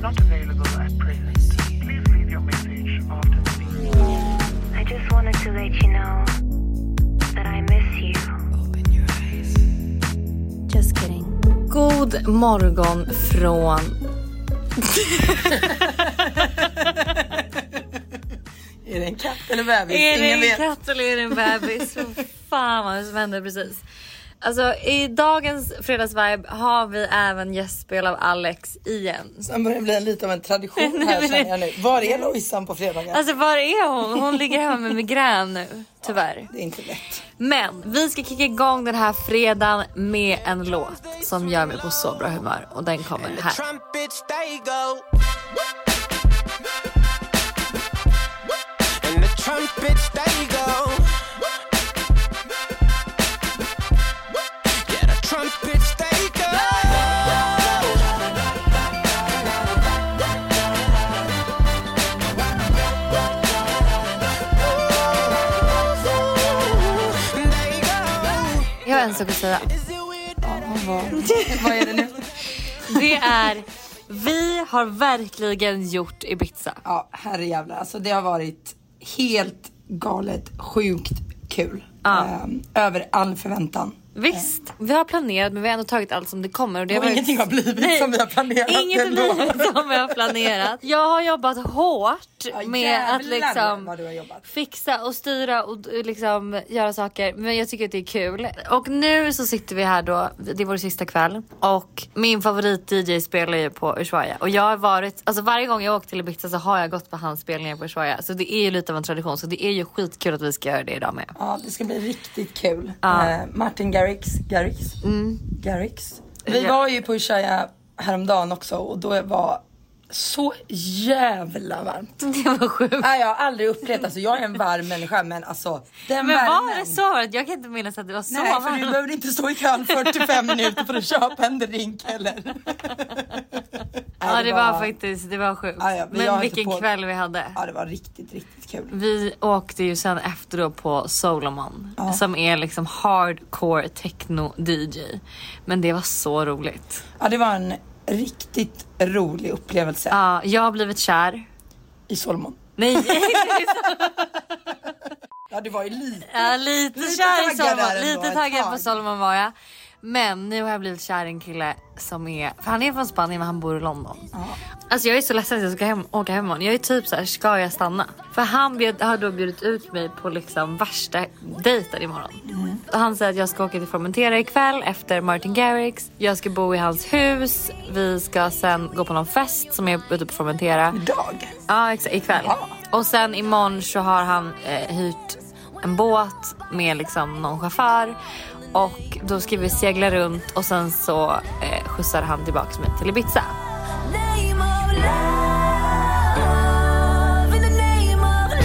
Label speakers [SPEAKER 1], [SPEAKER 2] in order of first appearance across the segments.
[SPEAKER 1] not available at present. Please leave your message after the beep.
[SPEAKER 2] I just wanted to let you know that I miss you. Just kidding.
[SPEAKER 3] God morgon från...
[SPEAKER 4] Är det en katt eller bebis?
[SPEAKER 3] Är det
[SPEAKER 4] Ingen
[SPEAKER 3] en
[SPEAKER 4] vet.
[SPEAKER 3] katt eller är det en bebis? Fy Fan vad som hände precis. Alltså i dagens fredagsvibe har vi även gästspel av Alex igen.
[SPEAKER 4] Sen börjar det bli lite av en tradition här känner jag nu. Var är Lojsan på fredagar?
[SPEAKER 3] Alltså var är hon? Hon ligger hemma med migrän nu, tyvärr.
[SPEAKER 4] Det är inte lätt.
[SPEAKER 3] Men vi ska kicka igång den här fredagen med en låt som gör mig på så bra humör och den kommer här.
[SPEAKER 5] Trumpets, they go. And the trumpets, they go. Yeah, the trumpets, they go. Ooh, they go.
[SPEAKER 3] Jag har en sak att säga.
[SPEAKER 5] Is it weird? that
[SPEAKER 3] Det är vi har verkligen gjort Ibiza.
[SPEAKER 4] Ja, herrejävlar. Alltså det har varit helt galet, sjukt kul. Ehm, över all förväntan.
[SPEAKER 3] Visst, Eh, vi har planerat men vi har ändå tagit allt som det kommer. Och det har
[SPEAKER 4] Och
[SPEAKER 3] varit...
[SPEAKER 4] ingenting har blivit
[SPEAKER 3] Nej,
[SPEAKER 4] som vi har planerat
[SPEAKER 3] Inget har
[SPEAKER 4] ändå.
[SPEAKER 3] blivit som vi har planerat. Jag har jobbat hårt
[SPEAKER 4] Ja,
[SPEAKER 3] med att
[SPEAKER 4] jävlar
[SPEAKER 3] liksom
[SPEAKER 4] vad du har jobbat.
[SPEAKER 3] fixa och styra och eh, liksom göra saker. Men jag tycker att det är kul. Och nu så sitter vi här då, det är vår sista kväll. Och min favorit-DJ spelar ju på Ushuaia. Och jag har varit, alltså varje gång jag åkt till Ibiza så har jag gått på hans spelningar på Ushuaia. Så det är ju lite av en tradition. Så det är ju skitkul att vi ska göra det idag med.
[SPEAKER 4] Ja, det ska bli riktigt kul. Eh, Martin Garrix, Garrix, Garrix. Vi
[SPEAKER 3] Mm. Ja.
[SPEAKER 4] var ju på Ushuaia häromdagen också och då var så jävla varmt.
[SPEAKER 3] Det var sjukt.
[SPEAKER 4] Nej, jag har aldrig upplevt, alltså jag är en varm människa men alltså den
[SPEAKER 3] Men
[SPEAKER 4] värmen.
[SPEAKER 3] var det så varmt? Jag kan inte minnas att det var så
[SPEAKER 4] Nej, för du
[SPEAKER 3] varmt.
[SPEAKER 4] behöver inte stå i kön 45 minuter för att köpa en drink heller.
[SPEAKER 3] Ja det var faktiskt, det var sjukt.
[SPEAKER 4] Ah, Ja, ja, men jag
[SPEAKER 3] men
[SPEAKER 4] har inte
[SPEAKER 3] vilken
[SPEAKER 4] på-
[SPEAKER 3] kväll vi hade.
[SPEAKER 4] Ja, det var riktigt, riktigt kul.
[SPEAKER 3] Vi åkte ju sen efter då på Solomon som är liksom hardcore techno DJ. Men det var så roligt.
[SPEAKER 4] Ja, det var en riktigt rolig upplevelse
[SPEAKER 3] Ja, jag har blivit kär.
[SPEAKER 4] i Solomon.
[SPEAKER 3] Nej,
[SPEAKER 4] Ja, det var ju lite.
[SPEAKER 3] jag är lite,
[SPEAKER 4] Lite
[SPEAKER 3] kär i
[SPEAKER 4] taggad där
[SPEAKER 3] Solomon.
[SPEAKER 4] ändå,
[SPEAKER 3] Lite
[SPEAKER 4] ett
[SPEAKER 3] taggad
[SPEAKER 4] tag.
[SPEAKER 3] på Solomon var jag. Men nu har jag blivit kär i en kille som är, för han är från Spanien men han bor i London. Alltså jag är så ledsen att jag ska hem, åka hem imorgon. Jag är typ så här, ska jag stanna? För han bjöd, har då bjudit ut mig på liksom värsta dejten imorgon.
[SPEAKER 4] Mm.
[SPEAKER 3] Han säger att jag ska åka till Formentera ikväll efter Martin Garrix. Jag ska bo i hans hus. Vi ska sen gå på någon fest som är ute på Formentera.
[SPEAKER 4] Dag.
[SPEAKER 3] Ja, exakt. Ikväll.
[SPEAKER 4] Ja.
[SPEAKER 3] Och sen imorgon så har han eh, hyrt en båt med liksom någon chaufför. Och då ska vi segla runt och sen så eh, skjutsar han tillbaks mig till Ibiza.
[SPEAKER 6] Name of love, in the name of love,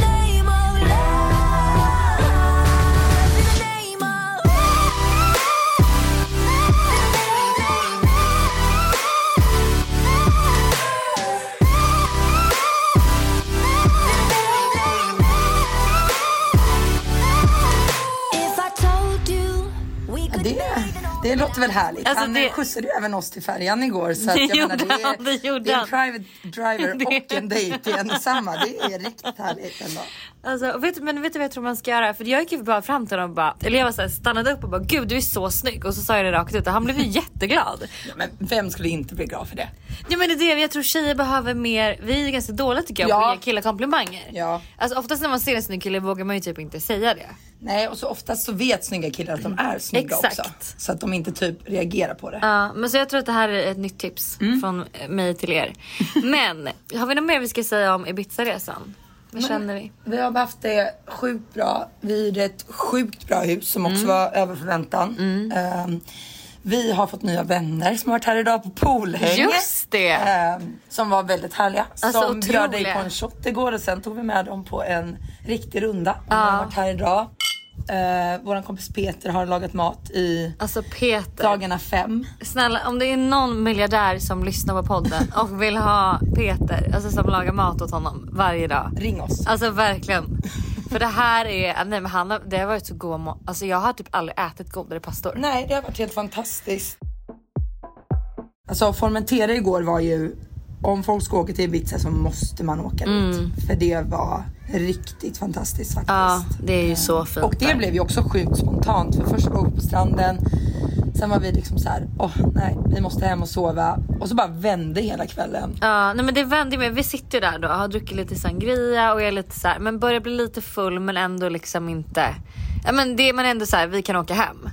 [SPEAKER 6] name of love, in the name of If I told you we could
[SPEAKER 4] Det, det låter väl härligt.
[SPEAKER 3] Alltså,
[SPEAKER 4] han
[SPEAKER 3] det-
[SPEAKER 4] skjutsade ju även oss till färjan igår. Så att
[SPEAKER 3] Det
[SPEAKER 4] jag menar,
[SPEAKER 3] gjorde
[SPEAKER 4] det, är,
[SPEAKER 3] han, det gjorde
[SPEAKER 4] det är en
[SPEAKER 3] han.
[SPEAKER 4] private driver
[SPEAKER 3] Det-
[SPEAKER 4] och en dejt i en och samma. Det är riktigt härligt ändå.
[SPEAKER 3] Alltså, vet, du- men vet du vad jag tror man ska göra? För jag gick ju bara fram till honom och bara, eller jag var så här, stannade upp och bara gud du är så snygg och så sa jag det rakt ut och han blev ju jätteglad.
[SPEAKER 4] Men vem skulle inte bli glad för det?
[SPEAKER 3] Ja men det är det, jag tror tjejer behöver mer, vi är ganska dåliga tycker jag på
[SPEAKER 4] Ja.
[SPEAKER 3] att ge killar komplimanger.
[SPEAKER 4] Ja.
[SPEAKER 3] Alltså oftast när man ser en snygg kille vågar man ju typ inte säga det.
[SPEAKER 4] Nej, och så oftast så vet snygga killar att de är snygga
[SPEAKER 3] Exakt.
[SPEAKER 4] också. Så att de inte typ reagerar på det.
[SPEAKER 3] Ja, men så jag tror att det här är ett nytt tips
[SPEAKER 4] Mm.
[SPEAKER 3] från mig till er. Men har vi något mer vi ska säga om Ibiza-resan? Vad känner vi?
[SPEAKER 4] Vi har haft det sjukt bra. Vi hyrde ett sjukt bra hus som
[SPEAKER 3] Mm.
[SPEAKER 4] också var över förväntan. Ehm, vi har fått nya vänner som har varit här idag på poolhäng.
[SPEAKER 3] Just det.
[SPEAKER 4] Ehm, som var väldigt härliga.
[SPEAKER 3] Alltså,
[SPEAKER 4] som bjöd dig
[SPEAKER 3] otroliga.
[SPEAKER 4] på en shot igår och sen tog vi med dem på en riktig runda. De har varit här idag. Uh, Vår kompis Peter har lagat mat i
[SPEAKER 3] Alltså Peter,
[SPEAKER 4] dagarna fem.
[SPEAKER 3] snälla om det är någon miljardär som lyssnar på podden och vill ha Peter, alltså som lagar mat åt honom varje dag.
[SPEAKER 4] Ring oss.
[SPEAKER 3] Alltså verkligen. För det här är, nej men han har, det har varit så god ma- Alltså jag har typ aldrig ätit godare pastor.
[SPEAKER 4] Nej, det har varit helt fantastiskt. Alltså Formentera igår var ju, om folk ska åka till Ibiza så måste man åka dit. För det var riktigt fantastiskt faktiskt.
[SPEAKER 3] Ja, det är ju så fint.
[SPEAKER 4] Och det
[SPEAKER 3] där.
[SPEAKER 4] blev ju också sjukt spontant för först var vi på stranden. Sen var vi liksom så här, åh nej, vi måste hem och sova. Och så bara vände hela kvällen.
[SPEAKER 3] Ja, nej men det vände mig. Vi sitter ju där då, har druckit lite sangria och jag är lite så här, men börjar bli lite full men ändå liksom inte. Ja, men det man ändå så här, vi kan åka hem.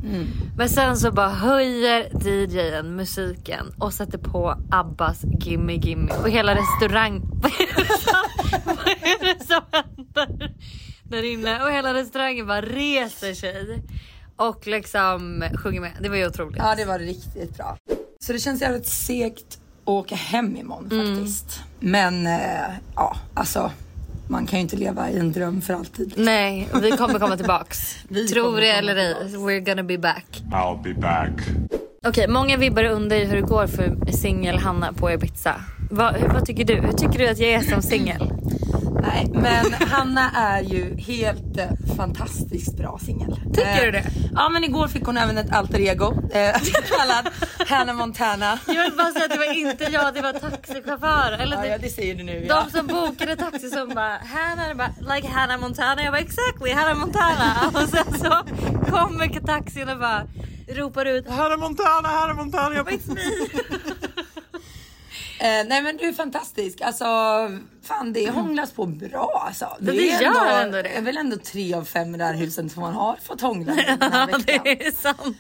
[SPEAKER 3] Men sen så bara höjer DJn musiken och sätter på Abbas Gimme Gimme och hela restaurang... Vad är det som, vad är det som händer där inne? Och hela restaurangen bara reser sig och liksom sjunger med. Det var ju otroligt.
[SPEAKER 4] Ja, det var riktigt bra. Så det känns jävligt segt att åka hem imorgon faktiskt. Men eh, ja, alltså man kan ju inte leva i en dröm för alltid.
[SPEAKER 3] Nej, vi kommer komma tillbaks.
[SPEAKER 4] Vi
[SPEAKER 3] Tror
[SPEAKER 4] kommer
[SPEAKER 3] det
[SPEAKER 4] komma
[SPEAKER 3] eller ej, we're gonna be back.
[SPEAKER 1] I'll be back.
[SPEAKER 3] Okej, många vibbar under hur det går för singel Hanna på Ibiza. Vad, hur, vad tycker du? Hur tycker du att jag är som singel?
[SPEAKER 4] Nej, men Hanna är ju helt eh, fantastiskt bra singel. Eh,
[SPEAKER 3] Tycker du det?
[SPEAKER 4] Ja, men igår fick hon även ett alter ego eh, kallad Hannah Montana.
[SPEAKER 3] Jag vill bara säga att det var inte jag, det var taxichaufförer. Eller
[SPEAKER 4] Ja, ja,
[SPEAKER 3] det,
[SPEAKER 4] det säger du nu. Ja.
[SPEAKER 3] de som bokade taxi som bara Hannah, bara, like Hannah Montana. Jag bara exactly Hannah Montana. Och sen så kommer taxin och bara ropar ut
[SPEAKER 5] Hannah Montana, Hannah Montana. Jag
[SPEAKER 3] It's me.
[SPEAKER 4] Eh, nej, men du är fantastisk. Alltså, fan det hånglas på bra alltså.
[SPEAKER 3] Men det
[SPEAKER 4] är
[SPEAKER 3] gör ändå det.
[SPEAKER 4] är väl ändå tre av fem i det här huset som man har fått hångla med den här
[SPEAKER 3] Ja, det
[SPEAKER 4] veckan.
[SPEAKER 3] är sant.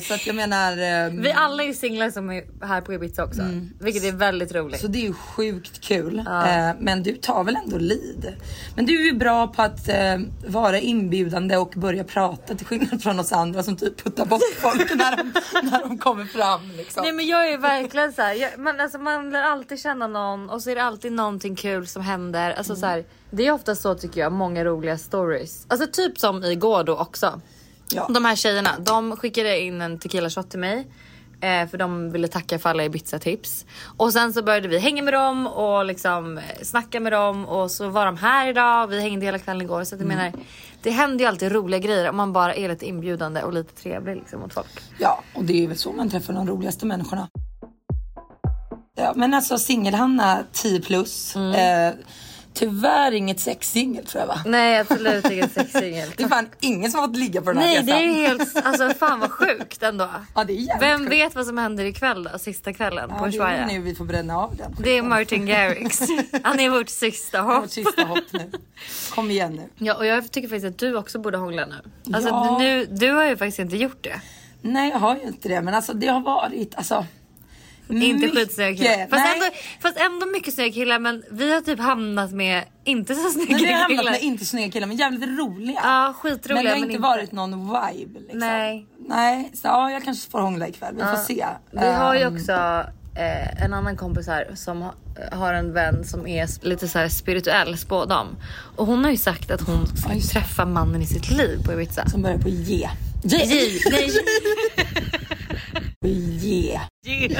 [SPEAKER 4] Eh, så att jag menar, eh,
[SPEAKER 3] Vi alla är ju singlar som är här på Ibiza också, vilket är väldigt roligt.
[SPEAKER 4] så det är ju sjukt kul. Eh, men du tar väl ändå lid. Men du är ju bra på att eh, vara inbjudande och börja prata till skillnad från oss andra som typ puttar bort folk när de, när de kommer fram. Liksom.
[SPEAKER 3] Nej men jag är verkligen så här, jag, man, alltså, man lär alltid känna någon och så är det alltid någonting kul som händer. Alltså, så här, det är ofta så tycker jag, många roliga stories. Alltså typ som igår då också.
[SPEAKER 4] Ja.
[SPEAKER 3] De här tjejerna, de skickade in en tequila shot till mig. Eh, för de ville tacka för alla Ibiza-tips. Och sen så började vi hänga med dem och liksom eh, snacka med dem. Och så var de här idag och vi hängde hela kvällen igår. Så att jag
[SPEAKER 4] Mm.
[SPEAKER 3] menar, det händer ju alltid roliga grejer om man bara är lite inbjudande och lite trevlig liksom, mot folk.
[SPEAKER 4] Ja, och det är väl så man träffar de roligaste människorna. Ja, men alltså singel-Hanna 10 plus.
[SPEAKER 3] Mm.
[SPEAKER 4] Eh, tyvärr inget sexsingel tror jag va?
[SPEAKER 3] Nej absolut ingen sexsingel.
[SPEAKER 4] Det är fan ingen som har fått ligga på den här
[SPEAKER 3] Nej det
[SPEAKER 4] resan.
[SPEAKER 3] är ju helt, alltså fan vad sjukt ändå.
[SPEAKER 4] Ja, det är jävligt
[SPEAKER 3] Vem
[SPEAKER 4] sjukt.
[SPEAKER 3] vet vad som händer ikväll då, sista kvällen på
[SPEAKER 4] Ja, det är nu
[SPEAKER 3] Ushuaia?
[SPEAKER 4] vi får bränna av den.
[SPEAKER 3] Det är Martin Garrix. Han är vårt sista
[SPEAKER 4] Det är
[SPEAKER 3] hopp.
[SPEAKER 4] Vårt sista hopp nu. Kom igen nu.
[SPEAKER 3] Ja och jag tycker faktiskt att du också borde hångla nu. Alltså
[SPEAKER 4] Ja.
[SPEAKER 3] nu, du har ju faktiskt inte gjort det.
[SPEAKER 4] Nej jag har ju inte det men alltså det har varit alltså.
[SPEAKER 3] Inte
[SPEAKER 4] mycket.
[SPEAKER 3] skitsnygga killar. Fast
[SPEAKER 4] Nej.
[SPEAKER 3] ändå, fast ändå mycket snygga killar men vi har typ hamnat med inte så snygga
[SPEAKER 4] Men vi har hamnat
[SPEAKER 3] killar.
[SPEAKER 4] med inte snygga killar men jävligt roliga.
[SPEAKER 3] Ja skitroliga
[SPEAKER 4] men det har
[SPEAKER 3] men
[SPEAKER 4] inte varit någon vibe liksom.
[SPEAKER 3] Nej.
[SPEAKER 4] Nej, så ja, jag kanske får hångla ikväll. Vi får se.
[SPEAKER 3] Vi har ju
[SPEAKER 4] Ehm,
[SPEAKER 3] också eh, en annan kompis här som ha, har en vän som är s- lite så här spirituell spådam. Och hon har ju sagt att hon ska
[SPEAKER 4] just
[SPEAKER 3] träffa mannen i sitt liv på Ibiza.
[SPEAKER 4] Som börjar på J.
[SPEAKER 3] J, nej,
[SPEAKER 4] J.
[SPEAKER 3] J.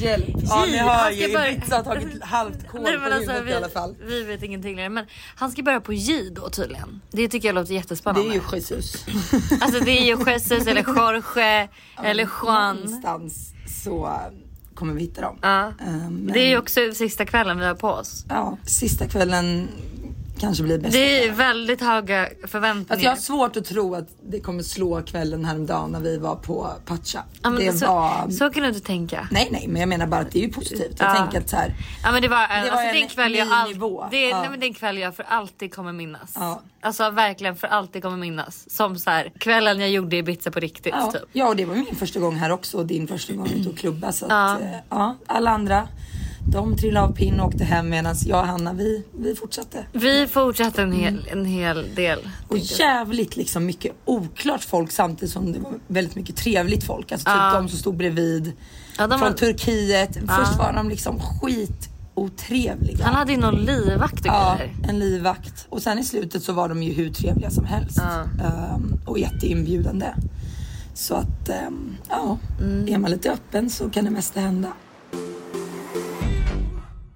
[SPEAKER 4] Hjälp. Ja, ni
[SPEAKER 3] J.
[SPEAKER 4] hör
[SPEAKER 3] Han
[SPEAKER 4] ju.
[SPEAKER 3] ska börja-
[SPEAKER 4] Ibiza har tagit halvt kol på
[SPEAKER 3] Nej, men
[SPEAKER 4] huvudet
[SPEAKER 3] alltså,
[SPEAKER 4] i
[SPEAKER 3] vi,
[SPEAKER 4] alla fall.
[SPEAKER 3] vi vet ingenting längre. Men han ska börja på J då tydligen. Det tycker jag låter
[SPEAKER 4] Det
[SPEAKER 3] jättespännande.
[SPEAKER 4] är ju Jesus.
[SPEAKER 3] Alltså det är ju Jesus eller Jorge eller Juan.
[SPEAKER 4] Någonstans så kommer vi hitta dem.
[SPEAKER 3] Ja.
[SPEAKER 4] Ehm, men,
[SPEAKER 3] Det är ju också sista kvällen vi har på oss.
[SPEAKER 4] ja, sista kvällen kanske blir bäst.
[SPEAKER 3] Det är ju väldigt höga
[SPEAKER 4] Fast
[SPEAKER 3] förväntningar.
[SPEAKER 4] jag har svårt att tro att det kommer slå kvällen häromdagen när vi var på Pacha.
[SPEAKER 3] Ja, men
[SPEAKER 4] det
[SPEAKER 3] så,
[SPEAKER 4] var...
[SPEAKER 3] så kan du inte tänka.
[SPEAKER 4] Nej, nej, men jag menar bara att det är ju positivt. Jag
[SPEAKER 3] Ja.
[SPEAKER 4] tänker att så här,
[SPEAKER 3] Ja men det var, en,
[SPEAKER 4] var
[SPEAKER 3] alltså,
[SPEAKER 4] en
[SPEAKER 3] det är en kväll jag
[SPEAKER 4] ny
[SPEAKER 3] all,
[SPEAKER 4] nivå.
[SPEAKER 3] Det, är-
[SPEAKER 4] Ja.
[SPEAKER 3] nej, men det är en kväll jag för alltid kommer minnas.
[SPEAKER 4] Ja.
[SPEAKER 3] Alltså verkligen för alltid kommer minnas. Som så här, kvällen jag gjorde i Ibiza på riktigt
[SPEAKER 4] ja.
[SPEAKER 3] typ.
[SPEAKER 4] ja, och det var min första gång här också och din första gång ute och klubba. Så att, eh, ja, alla andra, de trillade av pinn och åkte hem medan jag och Hanna, vi, vi fortsatte.
[SPEAKER 3] Vi fortsatte en hel,
[SPEAKER 4] Mm.
[SPEAKER 3] en hel del.
[SPEAKER 4] Och jävligt liksom mycket oklart folk samtidigt som det var väldigt mycket trevligt folk. Alltså typ de som stod bredvid
[SPEAKER 3] Ja, de
[SPEAKER 4] från
[SPEAKER 3] var-
[SPEAKER 4] Turkiet. Först var de liksom skitotrevliga.
[SPEAKER 3] Han hade ju någon livvakt och
[SPEAKER 4] Ja,
[SPEAKER 3] grejer.
[SPEAKER 4] en livvakt. Och sen i slutet så var de ju hur trevliga som helst. Ehm, och jätteinbjudande. Så att, ehm, ja.
[SPEAKER 3] Mm.
[SPEAKER 4] Är man lite öppen så kan det mesta hända.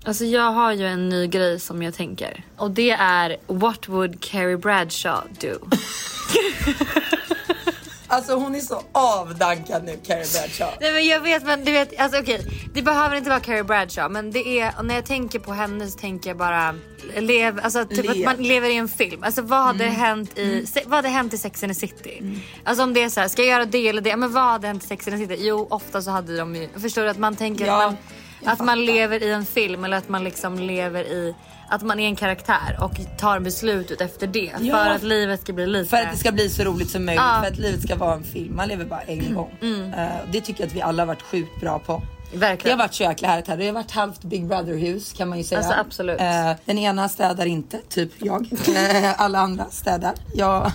[SPEAKER 3] Alltså jag har ju en ny grej som jag tänker. Och det är What would Carrie Bradshaw do?
[SPEAKER 4] Alltså hon är så avdankad nu Carrie Bradshaw.
[SPEAKER 3] Nej men jag vet men du vet, alltså okej. Det behöver inte vara Carrie Bradshaw men det är, och när jag tänker på henne så tänker jag bara lev, alltså typ
[SPEAKER 4] Lev.
[SPEAKER 3] att man lever i en film. Alltså vad hade
[SPEAKER 4] Mm.
[SPEAKER 3] hänt i, se, vad hade hänt i Sex and the City? Alltså om det är så här, ska jag göra det eller det? Men vad hade hänt i Sex and the City? Jo ofta så hade de ju, förstår du att man tänker
[SPEAKER 4] Ja,
[SPEAKER 3] att, man,
[SPEAKER 4] jag
[SPEAKER 3] att
[SPEAKER 4] fattar.
[SPEAKER 3] man lever i en film eller att man liksom lever i att man är en karaktär och tar beslut ut efter det
[SPEAKER 4] Ja.
[SPEAKER 3] för att livet ska bli lite...
[SPEAKER 4] För att det ska bli så roligt som möjligt,
[SPEAKER 3] Ja. Mm.
[SPEAKER 4] för att livet ska vara en film. Man lever bara en gång. Eh, det tycker jag att vi alla har varit sjukt bra på. Det har
[SPEAKER 3] Verkligen.
[SPEAKER 4] varit så jäkla härligt här. Det har varit halvt Big Brother hus kan man ju säga.
[SPEAKER 3] Alltså, absolut.
[SPEAKER 4] Eh, den ena städar inte, typ jag. Eh, alla andra städar. Jag.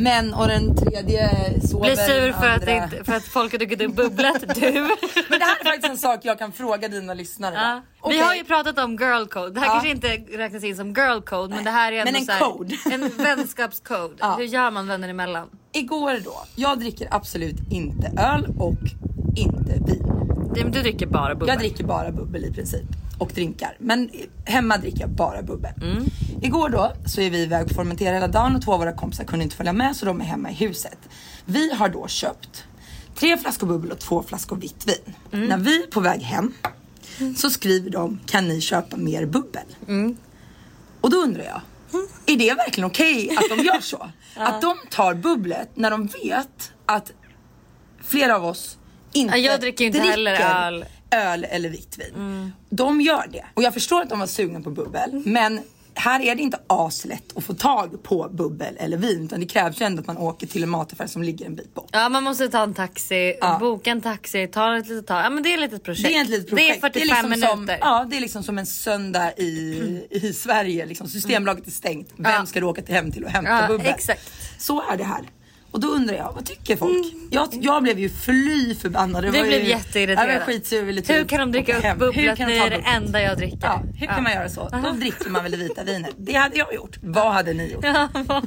[SPEAKER 4] Men och den tredje sover.
[SPEAKER 3] Blir sur
[SPEAKER 4] den
[SPEAKER 3] för att, det
[SPEAKER 4] andra-
[SPEAKER 3] inte, för att folk har druckit upp bubblat, du.
[SPEAKER 4] Men det här är faktiskt en sak jag kan fråga dina lyssnare.
[SPEAKER 3] Ja.
[SPEAKER 4] Okej.
[SPEAKER 3] Vi har ju pratat om girl code. Det här kanske inte räknas in som girl code men det här är
[SPEAKER 4] Men
[SPEAKER 3] ändå
[SPEAKER 4] en
[SPEAKER 3] så här,
[SPEAKER 4] code.
[SPEAKER 3] En vänskapscode.
[SPEAKER 4] Ja.
[SPEAKER 3] Hur gör man vänner emellan?
[SPEAKER 4] Igår då, jag dricker absolut inte öl och inte vin.
[SPEAKER 3] Du, du dricker bara bubbel.
[SPEAKER 4] Jag dricker bara bubbel i princip och drinkar. Men hemma dricker jag bara bubbel. Igår då så är vi iväg och fermenterar hela dagen och två av våra kompisar kunde inte följa med så de är hemma i huset. Vi har då köpt tre flaskor bubbel och två flaskor vitt vin. När vi är på väg hem så skriver de kan ni köpa mer bubbel? Och då undrar jag är det verkligen okej att de gör så? Att de tar bubblet när de vet att flera av oss inte
[SPEAKER 3] Ja, jag dricker ju inte heller
[SPEAKER 4] dricker
[SPEAKER 3] öl. Mm.
[SPEAKER 4] öl eller vitt vin. De gör det. Och jag förstår att de var sugna på bubbel men här är det inte aslätt att få tag på bubbel eller vin utan det krävs ju ändå att man åker till en mataffär som ligger en bit bort.
[SPEAKER 3] Ja man måste ta en taxi,
[SPEAKER 4] Ja.
[SPEAKER 3] boka en taxi, ta ett litet tag. Ja men det är ett litet projekt.
[SPEAKER 4] Det är ett litet projekt.
[SPEAKER 3] Det är 45
[SPEAKER 4] liksom
[SPEAKER 3] minuter.
[SPEAKER 4] Som, ja, det är liksom som en söndag i, i Sverige. Liksom. Systembolaget är stängt. Vem
[SPEAKER 3] Ja.
[SPEAKER 4] ska du åka till hem till och hämta
[SPEAKER 3] Ja,
[SPEAKER 4] bubbel?
[SPEAKER 3] exakt.
[SPEAKER 4] Så är det här. Och då undrar jag, vad tycker folk? Jag, jag blev ju fly förbannad. Det
[SPEAKER 3] Vi
[SPEAKER 4] var
[SPEAKER 3] blev
[SPEAKER 4] ju,
[SPEAKER 3] jätteirriterade.
[SPEAKER 4] Jag var skitsur. ville
[SPEAKER 3] Hur
[SPEAKER 4] typ
[SPEAKER 3] kan de
[SPEAKER 4] åka
[SPEAKER 3] dricka upp
[SPEAKER 4] hem. Hur
[SPEAKER 3] bubblat?
[SPEAKER 4] kan
[SPEAKER 3] Det
[SPEAKER 4] de ta
[SPEAKER 3] är det
[SPEAKER 4] bubbel?
[SPEAKER 3] enda jag dricker.
[SPEAKER 4] Ja, hur kan man göra så? Då dricker man väl det vita vinet. Det hade jag gjort. Vad hade ni gjort?
[SPEAKER 3] Ja, vad-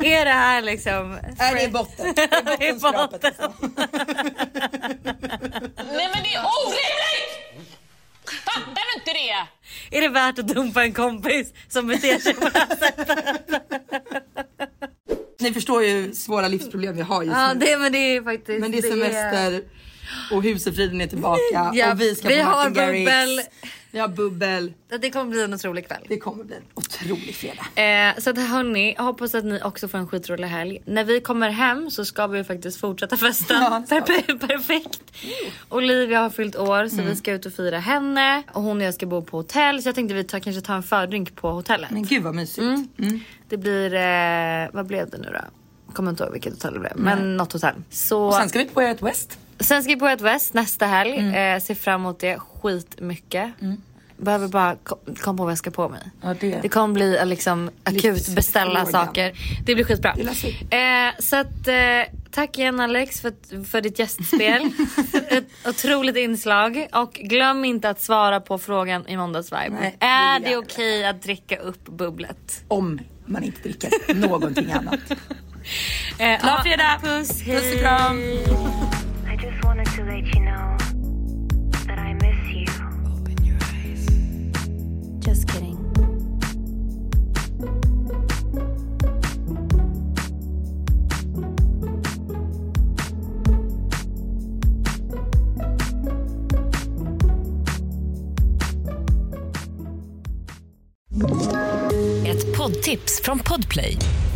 [SPEAKER 3] är det här liksom...
[SPEAKER 4] Nej, det är botten. Det är
[SPEAKER 3] Det är
[SPEAKER 4] bottenskrapet.
[SPEAKER 3] botten.
[SPEAKER 4] alltså.
[SPEAKER 7] Nej men det är orimligt! Fattar du inte det?
[SPEAKER 3] Är det värt att dumpa en kompis som beter sig på det här sättet?
[SPEAKER 4] Ni förstår ju hur svåra livsproblem vi har just
[SPEAKER 3] Ja
[SPEAKER 4] nu.
[SPEAKER 3] det, men det är faktiskt...
[SPEAKER 4] Men det är semester och husefriden är tillbaka
[SPEAKER 3] Ja,
[SPEAKER 4] och vi ska
[SPEAKER 3] vi
[SPEAKER 4] på
[SPEAKER 3] har
[SPEAKER 4] Martin Garrix.
[SPEAKER 3] bubbel.
[SPEAKER 4] Vi har bubbel.
[SPEAKER 3] Ja, Det kommer bli en otrolig kväll.
[SPEAKER 4] Det kommer bli en otrolig fredag.
[SPEAKER 3] Eh, så att hörni, jag hoppas att ni också får en skitrolig helg. När vi kommer hem så ska vi ju faktiskt fortsätta festen.
[SPEAKER 4] Ja, det ska
[SPEAKER 3] Per- perfekt. Olivia har fyllt år så
[SPEAKER 4] Mm.
[SPEAKER 3] vi ska ut och fira henne. Och hon och jag ska bo på hotell så jag tänkte vi tar, kanske tar en fördrink på hotellet.
[SPEAKER 4] Men mm. gud vad mysigt.
[SPEAKER 3] Det blir, eh, vad blev det nu då? Kommer inte ihåg vilket hotell det blev men något hotell. Så,
[SPEAKER 4] Och sen ska vi på Way Out West.
[SPEAKER 3] Sen ska vi på ett West nästa helg.
[SPEAKER 4] Mm.
[SPEAKER 3] Eh, ser fram emot det skitmycket. Behöver bara kom, kom på vad jag ska på mig.
[SPEAKER 4] Ja, det-
[SPEAKER 3] kommer bli eh, liksom akut
[SPEAKER 4] Livsfrågan.
[SPEAKER 3] beställa saker. Det blir skitbra.
[SPEAKER 4] Det löser
[SPEAKER 3] Eh, så att eh, tack igen Alex för, att- för ditt gästspel. ett otroligt inslag. Och glöm inte att svara på frågan i måndags vibe.
[SPEAKER 4] Nej, det
[SPEAKER 3] är
[SPEAKER 4] vill
[SPEAKER 3] det
[SPEAKER 4] jag
[SPEAKER 3] okej att dricka upp bubblet?
[SPEAKER 4] Om man inte dricker någonting annat.
[SPEAKER 3] Eh,
[SPEAKER 4] Glad
[SPEAKER 3] ha-
[SPEAKER 4] fredag.
[SPEAKER 3] Puss, hej.
[SPEAKER 4] Puss och kram.
[SPEAKER 2] I just wanted to let you know that I miss you.
[SPEAKER 6] Just kidding.
[SPEAKER 8] Ett poddtips från Podplay.